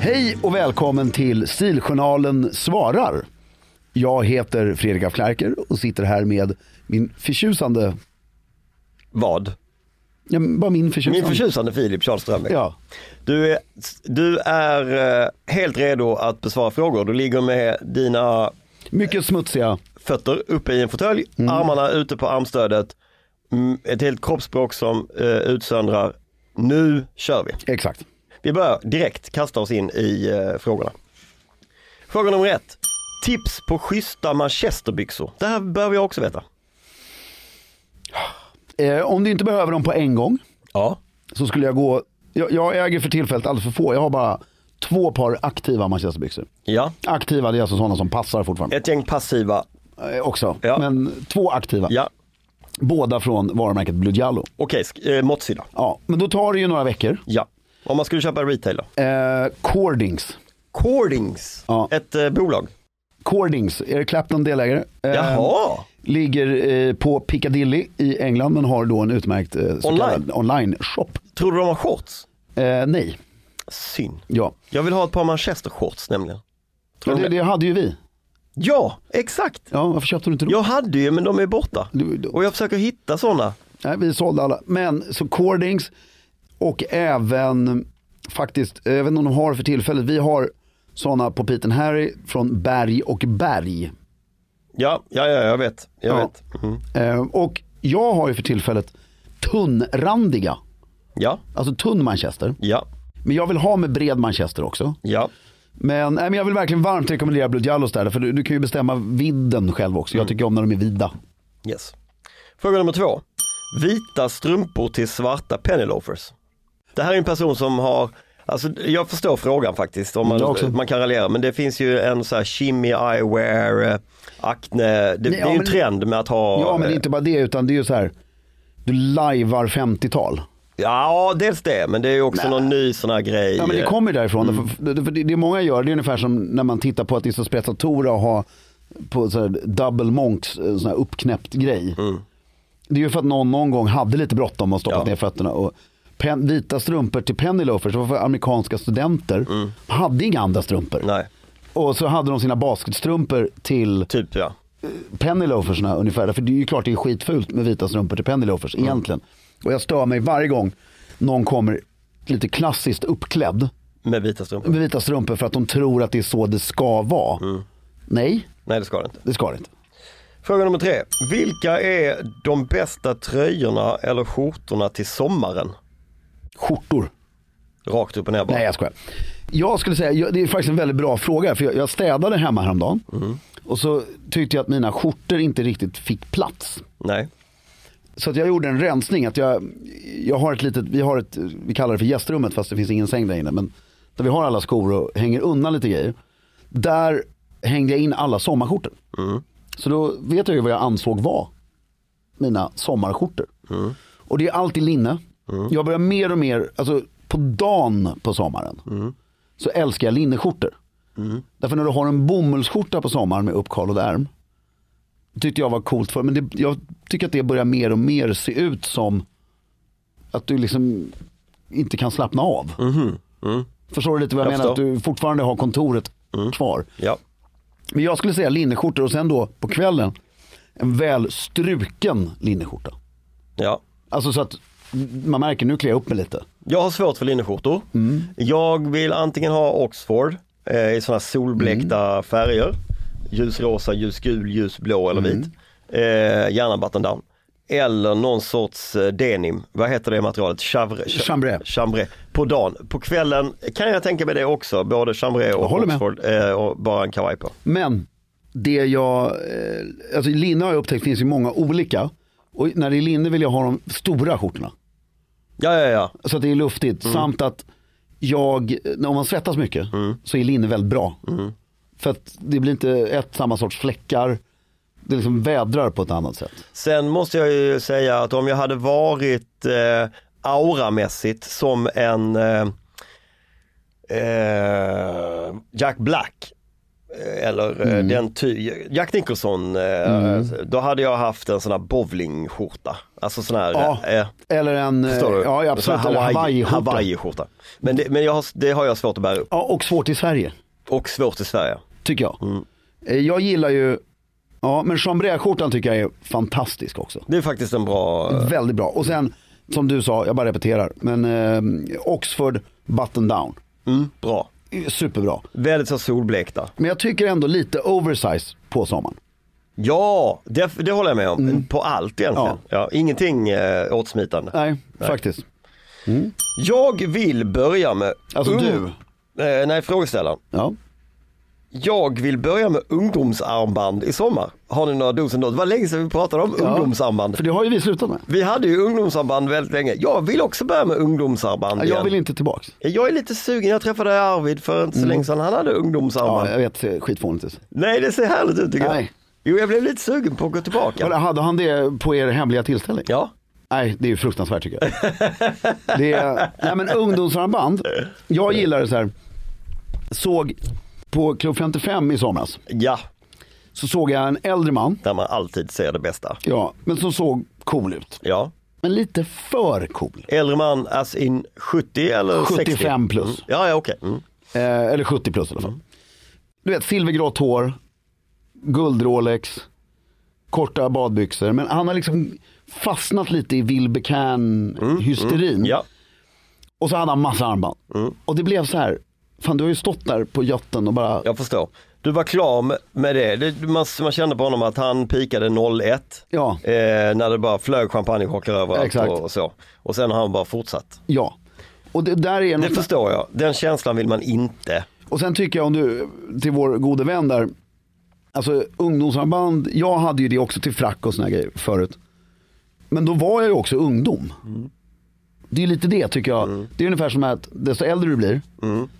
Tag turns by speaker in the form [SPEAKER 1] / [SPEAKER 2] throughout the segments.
[SPEAKER 1] Hej och välkommen till Stiljournalen svarar. Jag heter Fredrik af Klerker och sitter här med min förtjusande,
[SPEAKER 2] Vad?
[SPEAKER 1] ja, bara min förtjusande.
[SPEAKER 2] Min förtjusande Filip Charles Strömbäck.
[SPEAKER 1] Ja,
[SPEAKER 2] Du är, du är eh, helt redo att besvara frågor. Du ligger med dina
[SPEAKER 1] mycket smutsiga.
[SPEAKER 2] fötter uppe i en fåtölj, armarna ute på armstödet, mm, ett helt kroppsspråk som eh, utsöndrar nu kör vi.
[SPEAKER 1] Exakt.
[SPEAKER 2] Vi börjar direkt kasta oss in i eh, frågorna. Fråga nummer ett. Tips på schyssta manchesterbyxor. Det här behöver jag också veta.
[SPEAKER 1] Eh, om du inte behöver dem på en gång
[SPEAKER 2] Ja.
[SPEAKER 1] så skulle jag gå, jag, jag äger för tillfället alldeles för få, jag har bara två par aktiva manchesterbyxor.
[SPEAKER 2] Ja,
[SPEAKER 1] Aktiva, det är alltså sådana som passar fortfarande.
[SPEAKER 2] ett gäng passiva.
[SPEAKER 1] Eh, också,
[SPEAKER 2] Ja.
[SPEAKER 1] men två aktiva.
[SPEAKER 2] Ja,
[SPEAKER 1] Båda från varumärket Blue Giallo.
[SPEAKER 2] okej, sk- eh, måttsida.
[SPEAKER 1] Ja, men då tar det ju några veckor.
[SPEAKER 2] Ja. Om man skulle köpa retail då?
[SPEAKER 1] Eh, Cordings.
[SPEAKER 2] Cordings,
[SPEAKER 1] Ja.
[SPEAKER 2] ett eh, bolag.
[SPEAKER 1] Cordings, Eric Clapton delägare. Eh,
[SPEAKER 2] Jaha,
[SPEAKER 1] Ligger eh, på Piccadilly i England men har då en utmärkt eh, så
[SPEAKER 2] Online.
[SPEAKER 1] kallad online-shop.
[SPEAKER 2] tror du de har shorts?
[SPEAKER 1] Eh, nej,
[SPEAKER 2] Synd.
[SPEAKER 1] ja.
[SPEAKER 2] Jag vill ha ett par manchestershorts nämligen.
[SPEAKER 1] ja
[SPEAKER 2] Tror du
[SPEAKER 1] det,
[SPEAKER 2] de-
[SPEAKER 1] det hade ju vi.
[SPEAKER 2] Ja, exakt.
[SPEAKER 1] Ja, varför köpte du inte dem?
[SPEAKER 2] Jag hade ju men de är borta.
[SPEAKER 1] Du- du-
[SPEAKER 2] Och jag försöker hitta sådana.
[SPEAKER 1] Nej, vi sålde alla. Men så Cordings och även faktiskt, jag vet inte om de har för tillfället, vi har sådana på Piten Harry från Berg och Berg.
[SPEAKER 2] Ja, ja, ja jag vet. Jag
[SPEAKER 1] Ja.
[SPEAKER 2] vet. Mm.
[SPEAKER 1] Eh, och jag har ju för tillfället tunnrandiga,
[SPEAKER 2] Ja,
[SPEAKER 1] alltså tunn manchester.
[SPEAKER 2] ja,
[SPEAKER 1] Men jag vill ha med bred manchester också.
[SPEAKER 2] ja.
[SPEAKER 1] Men, nej, men jag vill verkligen varmt rekommendera Blue Jallos där, för du, du kan ju bestämma vidden själv också.
[SPEAKER 2] Mm.
[SPEAKER 1] Jag tycker om när de är vida.
[SPEAKER 2] Yes. Fråga nummer två. Vita strumpor till svarta penny loafers. Det här är en person som har, alltså jag förstår frågan faktiskt, om man,
[SPEAKER 1] Jag också.
[SPEAKER 2] man kan raljera, men det finns ju en så här shimmy eyewear, eh, acne, det, det är ju
[SPEAKER 1] men-
[SPEAKER 2] en trend med att ha
[SPEAKER 1] Ja, men det är
[SPEAKER 2] eh,
[SPEAKER 1] inte bara det, utan det är ju så här, du lajvar 50-tal.
[SPEAKER 2] Ja, dels det, men det är ju också någon ny sån här grej. eh,
[SPEAKER 1] Ja men det kommer ju därifrån.
[SPEAKER 2] Mm.
[SPEAKER 1] För, för det, det många gör, det är ungefär som när man tittar på att det är så spretatora och ha på så här double monks, eh, sån här uppknäppt grej. Det är ju för att någon någon gång hade lite bråttom och stoppat
[SPEAKER 2] Mm. Ja.
[SPEAKER 1] ner fötterna. Och pen, vita strumpor till penny loafers, det var för amerikanska studenter, hade inga andra strumpor.
[SPEAKER 2] Mm. Nej,
[SPEAKER 1] Och så hade de sina basketstrumpor till
[SPEAKER 2] typ ja.
[SPEAKER 1] penny loafersna ungefär. För det är ju klart det är skitfult med vita strumpor till penny loafers egentligen. Och jag stör mig varje gång någon kommer lite klassiskt uppklädd
[SPEAKER 2] Med vita strumpor.
[SPEAKER 1] med vita strumpor för att de tror att det är så det ska vara. Nej,
[SPEAKER 2] Nej, det ska det inte.
[SPEAKER 1] det ska det inte.
[SPEAKER 2] Fråga nummer tre. Vilka är de bästa tröjorna eller skjortorna till sommaren?
[SPEAKER 1] Skjortor.
[SPEAKER 2] Rakt upp och ner bara.
[SPEAKER 1] Nej jag skojar. Jag skulle säga, jag- det är faktiskt en väldigt bra fråga. För jag, jag städade hemma häromdagen. Och så tyckte jag att mina skjortor inte riktigt fick plats.
[SPEAKER 2] Nej.
[SPEAKER 1] Så att jag gjorde en rensning. Att jag, jag har ett litet, vi, har ett, vi kallar det för gästrummet fast det finns ingen säng där inne. Men där vi har alla skor och hänger undan lite grejer. Där hängde jag in alla sommarskjortor. Så då vet jag ju vad jag ansåg var mina sommarskjortor. Och det är alltid linne. Jag börjar mer och mer, alltså på dagen på sommaren så älskar jag linneskjortor. Därför när du har en bomullsskjorta på sommaren med uppkallad ärm tyckte jag var coolt för. Men det, jag tycker att det börjar mer och mer se ut som att du liksom inte kan slappna av. Förstår du lite vad jag,
[SPEAKER 2] Jag
[SPEAKER 1] menar? Att
[SPEAKER 2] förstår.
[SPEAKER 1] du fortfarande har kontoret kvar.
[SPEAKER 2] Ja.
[SPEAKER 1] Men jag skulle säga linneskjortor och sen då på kvällen en väl struken linneskjorta.
[SPEAKER 2] Ja.
[SPEAKER 1] Alltså så att man märker nu klär jag upp mig lite.
[SPEAKER 2] Jag har svårt för linneskjortor.
[SPEAKER 1] Mm.
[SPEAKER 2] Jag vill antingen ha Oxford eh, i sådana solblekta
[SPEAKER 1] Mm.
[SPEAKER 2] färger. Ljusrosa, ljusgul, ljusblå eller
[SPEAKER 1] Mm.
[SPEAKER 2] vit. Eh, gärna button down. Eller någon sorts eh, denim. Vad heter det materialet? Chavre, cha-
[SPEAKER 1] Chambré.
[SPEAKER 2] Chambré. På dagen. På kvällen kan jag tänka mig det också. Både chambré och
[SPEAKER 1] håller med.
[SPEAKER 2] Oxford. Eh, och bara en kavaj på.
[SPEAKER 1] Men det jag, eh, alltså linne har jag upptäckt finns ju många olika. Och när det är linne vill jag ha de stora skjortorna.
[SPEAKER 2] Ja, ja, ja.
[SPEAKER 1] Så att det är luftigt.
[SPEAKER 2] Mm.
[SPEAKER 1] Samt att jag, om man svettas mycket
[SPEAKER 2] Mm.
[SPEAKER 1] så är linne väldigt bra. För att det blir inte ett samma sorts fläckar. Det liksom vädrar på ett annat sätt.
[SPEAKER 2] Sen måste jag ju säga att om jag hade varit eh, auramässigt som en eh, eh, Jack Black eh, eller eh,
[SPEAKER 1] Mm.
[SPEAKER 2] den ty, Jack Nicholson, eh, då hade jag haft en sån här bowlingskjorta. Alltså sån här,
[SPEAKER 1] Ja,
[SPEAKER 2] eh,
[SPEAKER 1] Eller en, eh,
[SPEAKER 2] förstår du?
[SPEAKER 1] ja ja,
[SPEAKER 2] Sån
[SPEAKER 1] absolut,
[SPEAKER 2] här
[SPEAKER 1] eller
[SPEAKER 2] Hawaii-
[SPEAKER 1] hawaiiskjorta.
[SPEAKER 2] Hawaii-skjorta. men det, men jag har, det har jag svårt att bära upp
[SPEAKER 1] Ja, och svårt i Sverige,
[SPEAKER 2] och svårt i Sverige.
[SPEAKER 1] tycker jag. Eh, Jag gillar ju, ja men chambréskjortan tycker jag är fantastisk också.
[SPEAKER 2] Det är faktiskt en bra,
[SPEAKER 1] Väldigt bra. Och sen, som du sa, jag bara repeterar, men eh, Oxford button down.
[SPEAKER 2] mm, bra.
[SPEAKER 1] Superbra.
[SPEAKER 2] Väldigt så solblekta.
[SPEAKER 1] Men jag tycker ändå lite oversize på sommaren.
[SPEAKER 2] Ja, det, det håller jag med om.
[SPEAKER 1] Mm.
[SPEAKER 2] På allt egentligen. Ja. ingenting eh, åtsmitande.
[SPEAKER 1] Nej, faktiskt.
[SPEAKER 2] Jag vill börja med...
[SPEAKER 1] Alltså
[SPEAKER 2] ung-
[SPEAKER 1] du.
[SPEAKER 2] Eh, nej, frågeställaren.
[SPEAKER 1] Ja.
[SPEAKER 2] Jag vill börja med ungdomsarmband i sommar. Har ni några dosen då? Det var länge sedan vi pratade om ungdomsarmband.
[SPEAKER 1] För det har ju vi slutat med.
[SPEAKER 2] Vi hade ju ungdomsarmband väldigt länge. Jag vill också börja med ungdomsarmband
[SPEAKER 1] Jag
[SPEAKER 2] igen.
[SPEAKER 1] vill inte tillbaks.
[SPEAKER 2] jag är lite sugen, jag träffade Arvid för inte så länge sedan. Han hade
[SPEAKER 1] Ja,
[SPEAKER 2] ungdomsarmband.
[SPEAKER 1] jag vet, det ser skitfånigt ut.
[SPEAKER 2] Nej, det ser härligt ut tycker jag.
[SPEAKER 1] Nej.
[SPEAKER 2] Jo, jag blev lite sugen på att gå
[SPEAKER 1] Vadå,
[SPEAKER 2] tillbaka.
[SPEAKER 1] Hade han det på er hemliga tillställning?
[SPEAKER 2] Ja,
[SPEAKER 1] Nej, det är ju fruktansvärt tycker jag. det är, nej men ungdomsarmband, jag gillar det så här. Såg på Klubb 55 i somras,
[SPEAKER 2] ja,
[SPEAKER 1] så såg jag en äldre man,
[SPEAKER 2] där man alltid ser det bästa.
[SPEAKER 1] ja, men som såg cool ut.
[SPEAKER 2] Ja.
[SPEAKER 1] Men lite för cool.
[SPEAKER 2] Äldre man as in 70 eller 60?
[SPEAKER 1] 75 plus.
[SPEAKER 2] Ja, ja okej. Mm.
[SPEAKER 1] Eh, eller 70 plus i alla fall. Du vet, silvergrått hår, guldrolex, korta badbyxor. Men han har liksom fastnat lite i Vilbecan-hysterin.
[SPEAKER 2] mm. Ja,
[SPEAKER 1] Och så hade han massa armband. Och det blev så här, fan du har ju stått där på yachten och bara,
[SPEAKER 2] jag förstår. Du var klar med- med det. det man, man kände på honom att han pikade 01.
[SPEAKER 1] Ja.
[SPEAKER 2] Eh, när det bara flög champagnechocklor överallt
[SPEAKER 1] Exakt.
[SPEAKER 2] och, och så. Och sen har han bara fortsatt.
[SPEAKER 1] Ja. Och det, där är
[SPEAKER 2] Det
[SPEAKER 1] något,
[SPEAKER 2] förstår jag. Den känslan vill man inte.
[SPEAKER 1] Och sen tycker jag om du, till vår gode vän där, alltså ungdomsarmband, jag hade ju det också till frack och såna här grejer förut. Men då var jag ju också ungdom. Det är lite det tycker jag. Det är ungefär som att desto äldre du blir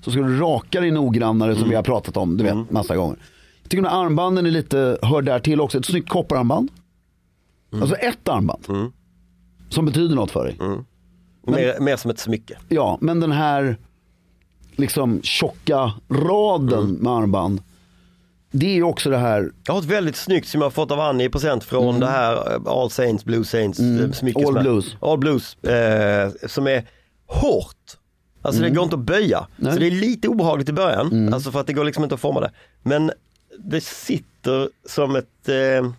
[SPEAKER 1] så ska du raka dig noggrannare som vi har pratat om, du vet, massa gånger. Jag tycker att armbanden är lite, hör där till också, ett snyggt koppararmband. Alltså ett armband. Som betyder något för dig.
[SPEAKER 2] Mer, mer som ett smycke.
[SPEAKER 1] Ja, men den här liksom tjocka raden med armband. Det är ju också det här
[SPEAKER 2] Jag har ett väldigt snyggt som jag har fått av Annie i present från det här eh, All Saints, Blue Saints mm. smycket.
[SPEAKER 1] Mm. All
[SPEAKER 2] som är-
[SPEAKER 1] Blues.
[SPEAKER 2] All Blues. Eh, som är hårt. Alltså
[SPEAKER 1] Mm.
[SPEAKER 2] det går inte att böja. Så det är lite obehagligt i början. Alltså för att det går liksom inte att forma det. Men det sitter som ett, eh,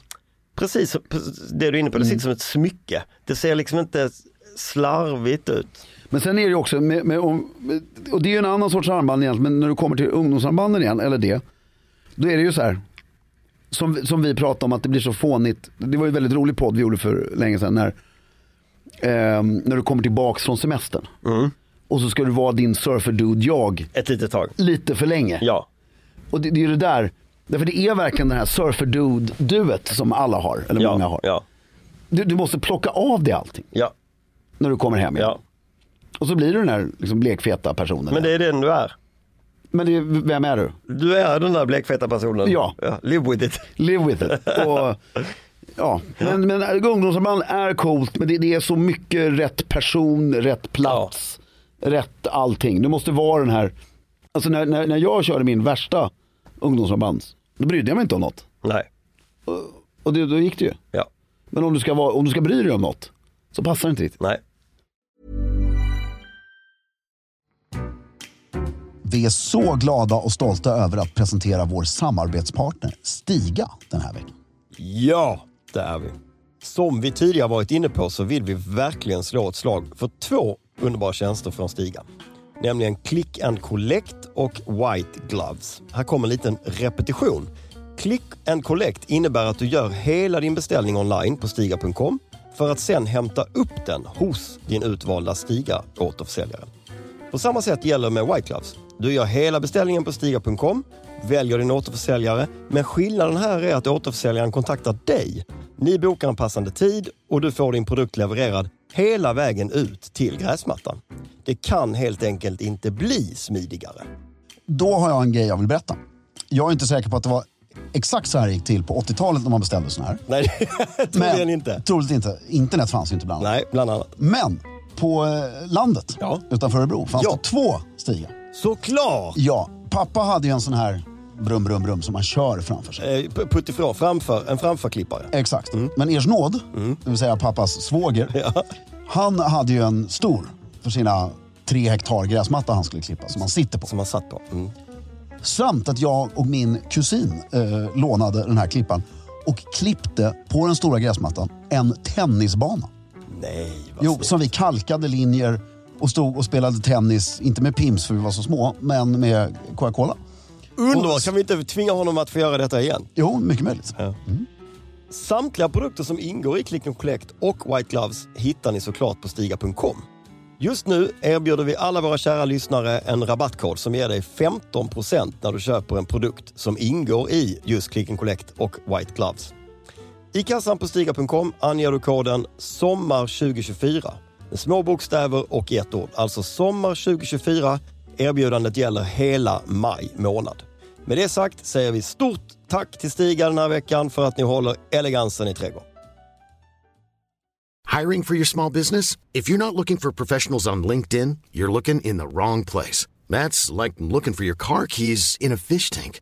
[SPEAKER 2] precis som- precis det du är inne på,
[SPEAKER 1] Mm.
[SPEAKER 2] det sitter som ett smycke. Det ser liksom inte slarvigt ut.
[SPEAKER 1] Men sen är det ju också, med, med, om- med, och det är ju en annan sorts armband egentligen, men när du kommer till ungdomsarmbanden igen, eller det, då är det ju så här. Som, som vi pratade om att det blir så fånigt, det var ju en väldigt rolig podd vi gjorde för länge sedan när, ehm, när du kommer tillbaks från semestern. Och så ska du vara din surferdude jag
[SPEAKER 2] Ett litet tag.
[SPEAKER 1] lite för länge.
[SPEAKER 2] Ja.
[SPEAKER 1] Och det, det är ju det där, därför det är verkligen den här surferdude-duet som alla har, eller
[SPEAKER 2] Ja.
[SPEAKER 1] många har.
[SPEAKER 2] Ja.
[SPEAKER 1] Du, du måste plocka av dig allting
[SPEAKER 2] Ja.
[SPEAKER 1] när du kommer hem igen.
[SPEAKER 2] ja.
[SPEAKER 1] Och så blir du den här liksom, blekfeta personen.
[SPEAKER 2] Men det är den du är.
[SPEAKER 1] Men det, vem är du?
[SPEAKER 2] Du är den där blekfeta personen.
[SPEAKER 1] Ja.
[SPEAKER 2] Live with it.
[SPEAKER 1] Live with it. Och, ja. Men, men ungdomsarmband är coolt, men det, det är så mycket rätt person, rätt plats, rätt allting. Du måste vara den här, alltså när, när, när jag körde min värsta ungdomsarmband, då brydde jag mig inte om något.
[SPEAKER 2] Nej.
[SPEAKER 1] Och det, då gick det ju.
[SPEAKER 2] Ja.
[SPEAKER 1] Men om du ska, vara, om du ska bry dig om något, så passar det inte riktigt.
[SPEAKER 2] Nej.
[SPEAKER 1] Vi är så glada och stolta över att presentera vår samarbetspartner Stiga den här veckan.
[SPEAKER 2] Ja, det är vi. Som vi tidigare varit inne på så vill vi verkligen slå ett slag för två underbara tjänster från Stiga. Nämligen Click and Collect och White Gloves. Här kommer en liten repetition. Click and Collect innebär att du gör hela din beställning online på stiga.com för att sen hämta upp den hos din utvalda Stiga-återförsäljare. På samma sätt gäller med White Gloves. Du gör hela beställningen på Stiga.com, väljer din återförsäljare, men skillnaden här är att återförsäljaren kontaktar dig. Ni bokar en passande tid och du får din produkt levererad hela vägen ut till gräsmattan. Det kan helt enkelt inte bli smidigare.
[SPEAKER 1] Då har jag en grej jag vill berätta. Jag är inte säker på att det var exakt så här det gick till på 80-talet när man beställde sådana här.
[SPEAKER 2] Nej, troligen inte.
[SPEAKER 1] Troligt inte. Internet fanns ju inte bland annat.
[SPEAKER 2] Nej, bland annat.
[SPEAKER 1] Men på eh, landet
[SPEAKER 2] Ja.
[SPEAKER 1] utanför Örebro fanns
[SPEAKER 2] Ja.
[SPEAKER 1] det två Stiga.
[SPEAKER 2] Såklart!
[SPEAKER 1] Ja, pappa hade ju en sån här brum, brum, brum som man kör framför sig.
[SPEAKER 2] Eh, p- Puttifrån, framför, en framförklippare.
[SPEAKER 1] Exakt.
[SPEAKER 2] Mm.
[SPEAKER 1] Men ers nåd, det vill säga pappas svåger, han hade ju en stor för sina tre hektar gräsmatta han skulle klippa som han sitter på.
[SPEAKER 2] Som man satt på. Mm.
[SPEAKER 1] Samt att jag och min kusin eh, lånade den här klippan och klippte på den stora gräsmattan en tennisbana.
[SPEAKER 2] Nej, vad
[SPEAKER 1] Jo,
[SPEAKER 2] snyggt.
[SPEAKER 1] som vi kalkade linjer och stod och spelade tennis, inte med pims för vi var så små, men med Coca-Cola.
[SPEAKER 2] Underbart! Kan vi inte tvinga honom att få göra detta igen?
[SPEAKER 1] Jo, mycket möjligt.
[SPEAKER 2] Samtliga produkter som ingår i Click and Collect och White Gloves hittar ni såklart på stiga.com. Just nu erbjuder vi alla våra kära lyssnare en rabattkod som ger dig 15% när du köper en produkt som ingår i just Click and Collect och White Gloves. I kassan på stiga.com anger du koden SOMMAR2024 med små bokstäver och i ett ord. Alltså SOMMAR2024. Erbjudandet gäller hela maj månad. Med det sagt säger vi stort tack till Stiga den här veckan för att ni håller elegansen i trädgården.
[SPEAKER 3] Hiring for your small business? If you're not looking for professionals on LinkedIn, you're looking in the wrong place. That's like looking for your car keys in a fish tank.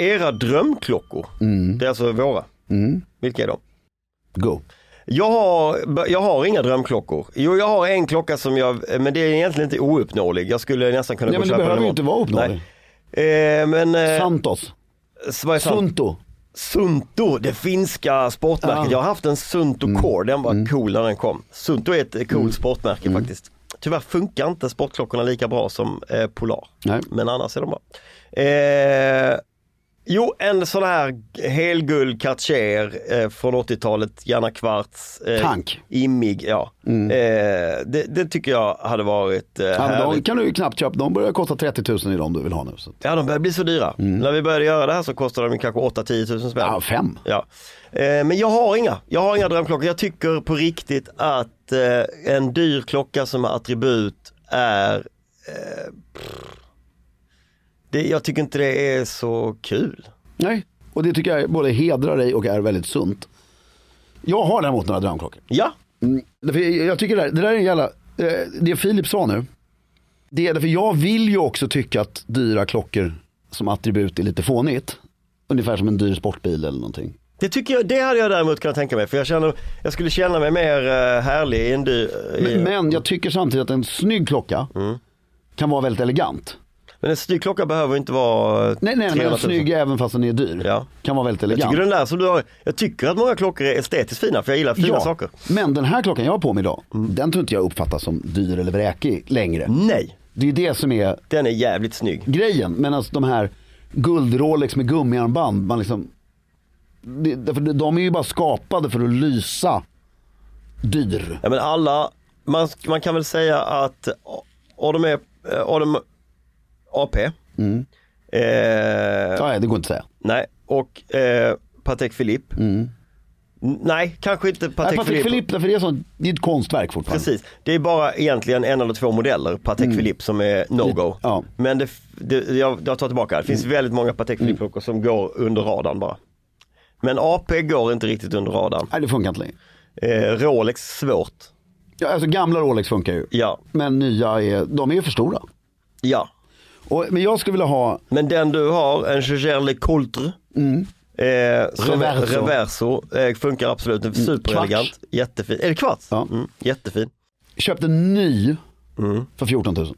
[SPEAKER 2] era drömklockor, det är alltså våra, vilka är de?
[SPEAKER 1] Go.
[SPEAKER 2] Jag har, jag har inga drömklockor. Jo, jag har en klocka som jag, men det är egentligen inte ouppnåelig. Jag skulle nästan kunna
[SPEAKER 1] Ja,
[SPEAKER 2] gå
[SPEAKER 1] men
[SPEAKER 2] och
[SPEAKER 1] det
[SPEAKER 2] köpa
[SPEAKER 1] behöver ju
[SPEAKER 2] den
[SPEAKER 1] inte vara uppnåelig.
[SPEAKER 2] Nej. Eh, men, eh,
[SPEAKER 1] Santos.
[SPEAKER 2] s- vad är sant?
[SPEAKER 1] Sunto.
[SPEAKER 2] Sunto, det finska sportmärket.
[SPEAKER 1] Ah.
[SPEAKER 2] Jag har haft en Sunto
[SPEAKER 1] Mm.
[SPEAKER 2] Core, den var cool när den kom. Sunto är ett eh, coolt sportmärke
[SPEAKER 1] Mm.
[SPEAKER 2] faktiskt. Tyvärr funkar inte sportklockorna lika bra som eh, Polar,
[SPEAKER 1] Nej.
[SPEAKER 2] men annars är de bra. Eh, jo, en sån här helguld Cartier eh, från 80-talet, gärna kvarts. Eh,
[SPEAKER 1] Tank. Mm.
[SPEAKER 2] Immig, ja. Eh, det, det tycker jag hade varit eh,
[SPEAKER 1] Ja, men
[SPEAKER 2] härligt.
[SPEAKER 1] de kan du ju knappt köpa, de börjar kosta 30 000 i de du vill ha nu. Så.
[SPEAKER 2] Ja, de börjar bli så dyra. När vi började göra det här så kostade de kanske 8-10 000 spänn.
[SPEAKER 1] Mm. Ja, fem.
[SPEAKER 2] Ja. Eh, men jag har inga. Jag har inga drömklockor. Jag tycker på riktigt att eh, en dyr klocka som har attribut är... Eh, pff. det, jag tycker inte det är så kul.
[SPEAKER 1] Nej, och det tycker jag både hedrar dig och är väldigt sunt. Jag har däremot några drömklockor.
[SPEAKER 2] Ja,
[SPEAKER 1] Mm. Därför jag- jag tycker det, där, det där är en jävla, eh, det Filip sa nu. Det är därför jag vill ju också tycka att dyra klockor som attribut är lite fånigt. Ungefär som en dyr sportbil eller någonting.
[SPEAKER 2] det tycker jag. Det hade jag däremot kunnat tänka mig. För jag, känner, jag skulle känna mig mer eh, härlig i en dyr... i-
[SPEAKER 1] Men, men jag tycker samtidigt att en snygg klocka
[SPEAKER 2] Mm.
[SPEAKER 1] kan vara väldigt elegant.
[SPEAKER 2] men en snygg klocka behöver inte vara... eh,
[SPEAKER 1] Nej, nej men
[SPEAKER 2] 300
[SPEAKER 1] en
[SPEAKER 2] 000.
[SPEAKER 1] snygg även fast den är dyr.
[SPEAKER 2] Ja.
[SPEAKER 1] Kan vara väldigt
[SPEAKER 2] Jag
[SPEAKER 1] elegant.
[SPEAKER 2] tycker, den där som du har, jag tycker att många klockor är estetiskt fina för jag gillar fina saker.
[SPEAKER 1] Men den här klockan jag har på mig idag, den tror inte jag uppfattas som dyr eller vräkig längre.
[SPEAKER 2] Nej,
[SPEAKER 1] Det är ju det som är
[SPEAKER 2] den är jävligt snygg.
[SPEAKER 1] grejen. Men alltså de här guld-Rolex med gummiarmband, man liksom, det, därför de är ju bara skapade för att lysa dyr.
[SPEAKER 2] Ja, men alla, man, man kan väl säga att Adam, är, eh, Adam AP,
[SPEAKER 1] Mm.
[SPEAKER 2] eh,
[SPEAKER 1] Ja, nej, det går inte att säga.
[SPEAKER 2] nej, och eh, Patek Philippe. N- Nej, kanske inte Patek,
[SPEAKER 1] Mm. Nej, Patek Philippe, därför det är, sånt, det är ett konstverk fortfarande.
[SPEAKER 2] Precis, det är bara egentligen en eller två modeller Patek Philippe som är no-go.
[SPEAKER 1] Mm. Ja. Mm.
[SPEAKER 2] Men det, det, jag, jag tar tillbaka, det finns väldigt många Patek Philippe-klockor som går under radarn bara. Men AP går inte riktigt under radarn.
[SPEAKER 1] Nej, det funkar inte längre.
[SPEAKER 2] Eh, Rolex, svårt.
[SPEAKER 1] Ja, alltså gamla Rolex funkar ju.
[SPEAKER 2] Ja,
[SPEAKER 1] Men nya är, de är ju för stora.
[SPEAKER 2] ja.
[SPEAKER 1] Och, men jag skulle vilja ha
[SPEAKER 2] Men den du har, en Gégère Le Coultre. Eh, som
[SPEAKER 1] Mm. Reverso. Mm.
[SPEAKER 2] reverso eh, funkar absolut, Den är superelegant.
[SPEAKER 1] kvarts.
[SPEAKER 2] Jättefin. Är det kvarts?
[SPEAKER 1] Ja.
[SPEAKER 2] Mm, jättefin.
[SPEAKER 1] köpt en ny
[SPEAKER 2] Mm.
[SPEAKER 1] för 14 000.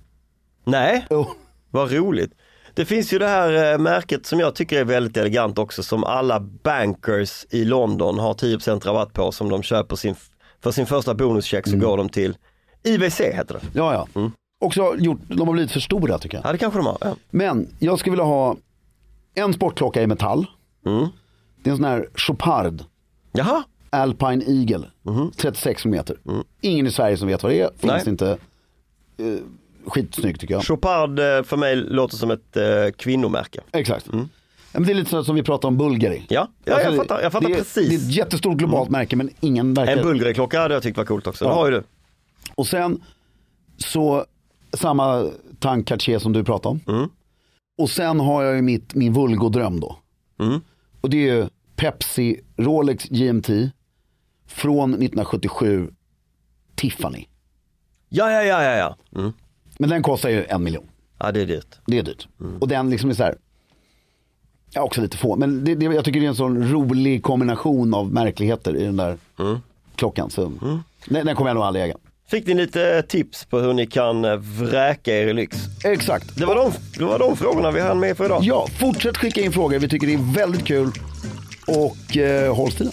[SPEAKER 2] Nej,
[SPEAKER 1] Jo.
[SPEAKER 2] vad roligt. Det finns ju det här eh, märket som jag tycker är väldigt elegant också som alla bankers i London har 10% rabatt på som de köper sin, för sin första bonuscheck
[SPEAKER 1] Mm.
[SPEAKER 2] så går de till IVC heter det.
[SPEAKER 1] Ja, ja.
[SPEAKER 2] Mm.
[SPEAKER 1] Också gjort, de har blivit för stora tycker jag.
[SPEAKER 2] Ja det kanske de har. Ja.
[SPEAKER 1] Men jag skulle vilja ha en sportklocka i metall.
[SPEAKER 2] Mm.
[SPEAKER 1] Det är en sån här Chopard
[SPEAKER 2] Jaha,
[SPEAKER 1] Alpine Eagle. 36 mm. Ingen i Sverige som vet vad det är. Finns
[SPEAKER 2] Nej.
[SPEAKER 1] inte. Eh, skitsnygg tycker jag.
[SPEAKER 2] Chopard eh, för mig låter som ett eh, kvinnomärke.
[SPEAKER 1] Exakt. Ja, Men det är lite så som vi pratade om Bulgari.
[SPEAKER 2] Mm. Ja, ja jag fattar, jag fattar
[SPEAKER 1] Alltså, det är,
[SPEAKER 2] precis. Mm.
[SPEAKER 1] Det är ett jättestort globalt märke men ingen verkar...
[SPEAKER 2] En Bulgari-klocka hade jag tyckt var coolt också. Det
[SPEAKER 1] Ja.
[SPEAKER 2] har ju du.
[SPEAKER 1] Och sen så samma tank Cartier som du pratade om. Och sen har jag ju mitt, min vulgodröm då. Och det är ju Pepsi Rolex GMT från 1977 Tiffany.
[SPEAKER 2] Ja, ja, ja, ja, ja. Mm.
[SPEAKER 1] Men den kostar ju en miljon.
[SPEAKER 2] Ja, det är dyrt.
[SPEAKER 1] Det är dyrt. Och den liksom är så här. Ja, också lite få. Men det, det, jag tycker det är en sån rolig kombination av märkligheter i den där klockan. Så, den, den kommer jag nog aldrig äga.
[SPEAKER 2] Fick ni lite eh, tips på hur ni kan eh, vräka er i lyx?
[SPEAKER 1] Exakt.
[SPEAKER 2] Det var de, det var de frågorna vi hann med för idag.
[SPEAKER 1] Ja, fortsätt skicka in frågor. Vi tycker det är väldigt kul. Och eh, håll stilen.